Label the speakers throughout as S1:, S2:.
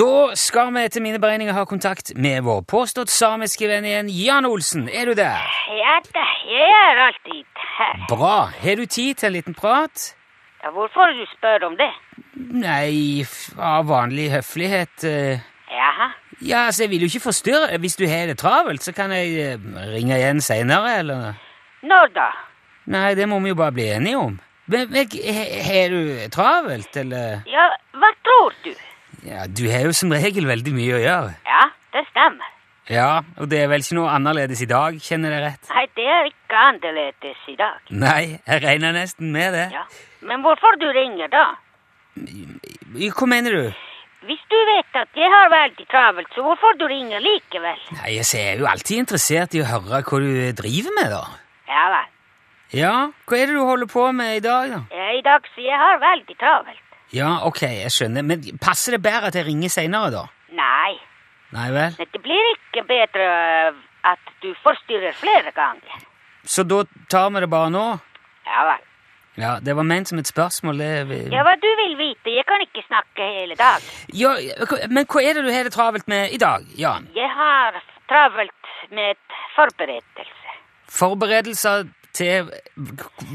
S1: Da skal vi etter mine beregninger ha kontakt med vår påstått samiske venn igjen, Jan Olsen. Er du der?
S2: Ja da, jeg er alltid her.
S1: Bra. Har du tid til en liten prat?
S2: Ja, hvorfor du spør om det?
S1: Nei, f- av vanlig høflighet eh,
S2: Jaha.
S1: Ja, altså, jeg vil jo ikke forstyrre. Hvis du har det travelt, så kan jeg eh, ringe igjen seinere, eller
S2: Når da?
S1: Nei, det må vi jo bare bli enige om. Men, men he- har du travelt, eller
S2: Ja, hva tror du?
S1: Ja, du har jo som regel veldig mye å gjøre.
S2: Ja, det stemmer.
S1: Ja, og det er vel ikke noe annerledes i dag, kjenner jeg rett?
S2: Nei, det er ikke annerledes i dag.
S1: Nei, jeg regner nesten med det.
S2: Ja, men hvorfor du ringer da?
S1: Hva mener du?
S2: Hvis du vet at jeg har veldig travelt, så hvorfor du ringer likevel?
S1: Nei, altså, jeg er jo alltid interessert i å høre hva du driver med, da.
S2: Ja vel.
S1: Ja, hva er det du holder på med i dag, da?
S2: Ja, I dag så jeg har veldig travelt.
S1: Ja, ok, jeg skjønner. Men passer det bedre at jeg ringer seinere, da?
S2: Nei,
S1: Nei vel?
S2: men det blir ikke bedre øh, at du forstyrrer flere ganger.
S1: Så da tar vi det bare nå?
S2: Ja vel.
S1: Ja, det var ment som et spørsmål, det vi-
S2: Ja, hva du vil vite, jeg kan ikke snakke hele dag.
S1: Ja, hva- men hva er det du har det travelt med i dag, Jan?
S2: Jeg har travelt med forberedelse
S1: Forberedelser til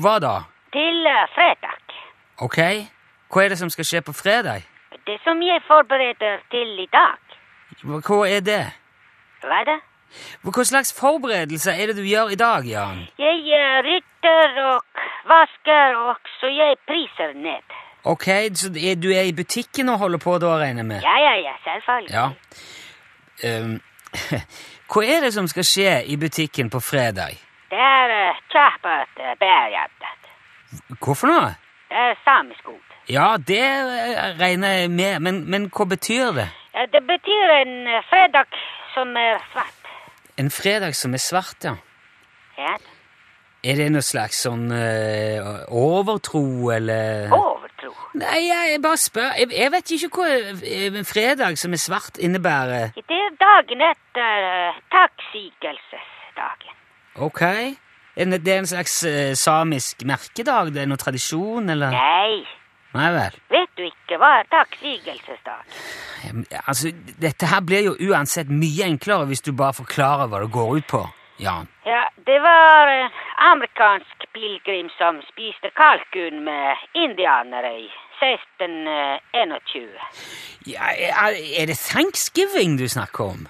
S1: hva da?
S2: til øh, fredag.
S1: Ok, hva er det som skal skje på fredag?
S2: Det som jeg forbereder til i dag,
S1: Hva hva er det?
S2: hva da?
S1: Hva slags forberedelser er det du gjør i dag, Jan?
S2: Jeg øh, rydder og vasker, og så jeg priser ned.
S1: Ok, så det er- du er i butikken og holder på da, regner jeg med?
S2: Ja, ja, ja, selvfølgelig.
S1: Ja. Ehm, hva er det som skal skje i butikken på fredag?
S2: Det er uh, kjappet uh, bærhjertet.
S1: Hvorfor noe?
S2: Det er samisk ord.
S1: Ja, det eh, regner jeg med, men, men hva betyr det?
S2: Ja, det betyr en eh, fredag som er svart.
S1: En fredag som er svart, ja.
S2: Ja,
S1: Er det noe slags sånn eh, overtro, eller
S2: overtro.
S1: Nei, jeg, jeg bare spør. Jeg, jeg vet ikke hva eh, en fredag som er svart, innebærer.
S2: Det er dagen etter uh, takksigelsesdagen.
S1: Ok? Er det det er en slags eh, samisk merkedag? Det er noe tradisjon, eller?
S2: Nei,
S1: Nei vel.
S2: vet du ikke hva er takksigelsesdag?
S1: Ja, men, Altså, dette her blir jo uansett mye enklere hvis du bare forklarer hva det går ut på. Jan.
S2: Ja, det var en amerikansk pilgrim som spiste kalkun med indianere i eh, 1621.
S1: Ja, er, er det thanksgiving du snakker om?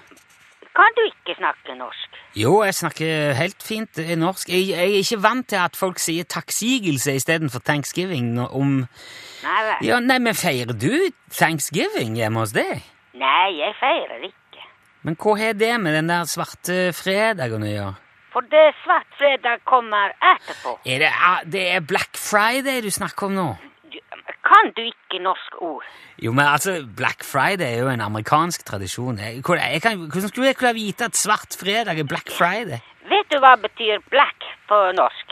S2: Kan du ikke snakke norsk?
S1: Jo, jeg snakker helt fint eh, norsk. Jeg, jeg er ikke vant til at folk sier takksigelse istedenfor thanksgiving. nå- Om,
S2: Nei vel.
S1: ja, nei, men feirer du thanksgiving hjemme hos deg?
S2: Nei, jeg feirer ikke.
S1: Men hva har det med den der svarte fredagen å gjøre?
S2: For det svart fredag kommer etterpå.
S1: Er det, ah, det er Black Friday du snakker om nå?
S2: Du- Kan du ikke norsk ord?
S1: Jo, men altså, Black Friday er jo en amerikansk tradisjon. Jeg, hvor- jeg kan, hvordan skulle jeg kunne vite at svart fredag er Black Friday?
S2: Vet du hva betyr black på norsk?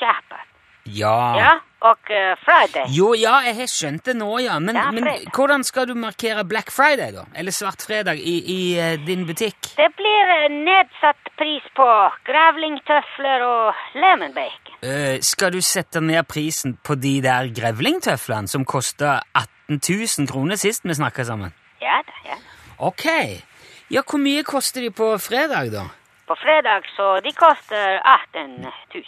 S2: Kjappet.
S1: Ja.
S2: Ja, og eh, friday.
S1: Jo, ja, jeg har skjønt det nå, ja. Men,
S2: Ja,
S1: men
S2: fredag.
S1: hvordan skal du markere Black Friday, da? Eller Svart fredag i, i eh, din butikk?
S2: Det blir eh, nedsatt pris på grevlingtøfler og lemon bacon.
S1: Eh, skal du sette ned prisen på de der grevlingtøflene som kosta 18 000 kroner sist vi snakka sammen?
S2: Ja da, ja.
S1: Ok. Ja, hvor mye koster de på fredag, da?
S2: På fredag så de koster 18 000.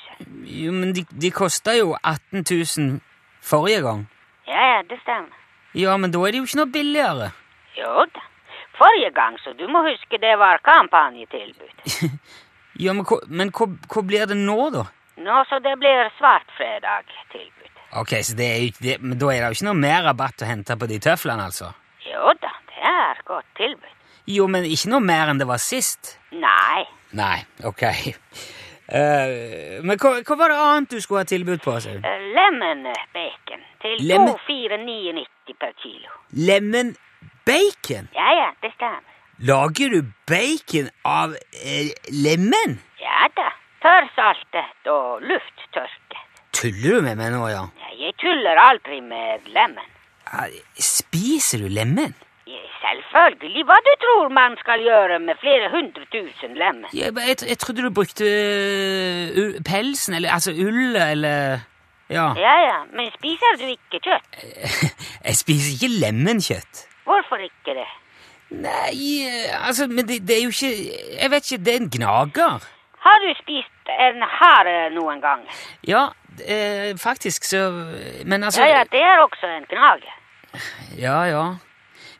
S1: Jo, men de, de kosta jo 18 000 forrige gang.
S2: Ja, ja, det stemmer.
S1: Ja, men da er det jo ikke noe billigere.
S2: Jo da. Forrige gang, så du må huske det var kampanjetilbud.
S1: Ja, Men, hva, men hva, hva blir det nå, da?
S2: Nå så det blir svart fredag-tilbud.
S1: Ok, så det er jo ikke, det, Men da er det jo ikke noe mer rabatt å hente på de tøflene, altså?
S2: Jo da, det er godt tilbud.
S1: Jo, men ikke noe mer enn det var sist.
S2: Nei,
S1: Nei, ok. Eh, men hva, hva var det annet du skulle ha tilbud på? sa du?
S2: eh, lemon bacon til
S1: Lemon-
S2: 2,4990 per kilo.
S1: Lemon bacon?
S2: Ja, ja, det stemmer.
S1: Lager du bacon av eh, lemon?
S2: Ja da. Tørrsaltet og lufttørket.
S1: Tuller du med meg nå, Jan?
S2: Ja, jeg tuller aldri med lemon.
S1: Ja, Eh, Spiser du lemon?
S2: Ja, Selvfølgelig. Hva du tror man skal gjøre med flere hundre tusen lemon?
S1: Jeg, jeg, jeg trodde du brukte uh, u- pelsen, eller altså ullet, eller Ja.
S2: Ja, ja, men spiser du ikke kjøtt?
S1: Jeg spiser ikke lemonkjøtt.
S2: Hvorfor ikke det?
S1: Nei, eh, altså, men det, det er jo ikke Jeg vet ikke, det er en gnager.
S2: Har du spist en hare noen gang?
S1: Ja, eh, faktisk, så Men altså
S2: Ja, ja, det er også en gnage.
S1: Ja, ja.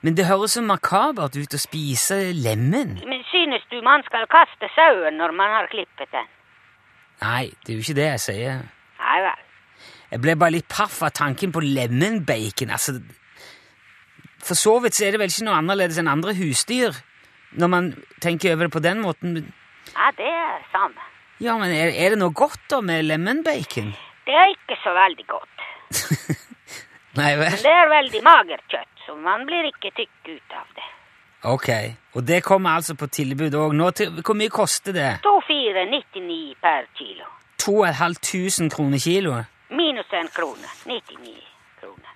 S1: Men det høres så makabert ut å spise lemen.
S2: Men synes du man skal kaste sauen når man har klippet den?
S1: Nei, det er jo ikke det jeg sier.
S2: Nei vel.
S1: Jeg ble bare litt paff av tanken på lemenbacon. Altså, for så vidt så er det vel ikke noe annerledes enn andre husdyr, når man tenker over det på den måten. men-
S2: Ja, det er samme.
S1: Ja, men er, er det noe godt da med lemenbacon?
S2: Det er ikke så veldig godt.
S1: Nei vel?
S2: Det er veldig magert kjøtt, så man blir ikke tykk ut av det.
S1: Ok, og det kommer altså på tilbud òg nå. Til, hvor mye koster det?
S2: 2499 per kilo.
S1: 2500 kroner kiloet?
S2: Minus en krone. 99 kroner.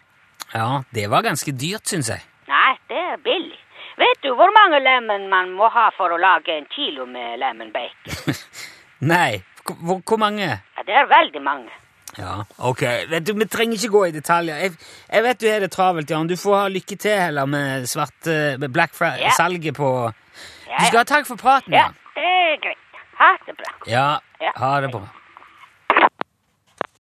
S1: Ja, det var ganske dyrt, syns jeg.
S2: Nei, det er billig. Vet du hvor mange lemen man må ha for å lage en kilo med lemon bacon?
S1: Nei, hvor, hvor- hvor mange?
S2: Ja, det er veldig mange.
S1: Ja, ok. Vet du, Vi trenger ikke gå i detaljer. Jeg, jeg vet du har det travelt, Jan. Du får ha lykke til heller med svart eh, med Black
S2: Ja.
S1: Friday-salget på
S2: Ja,
S1: Du skal
S2: ja.
S1: ha takk for praten,
S2: ja,
S1: Jan.
S2: det er greit. Ha det bra.
S1: Ja,
S2: Ja.
S1: ha det bra.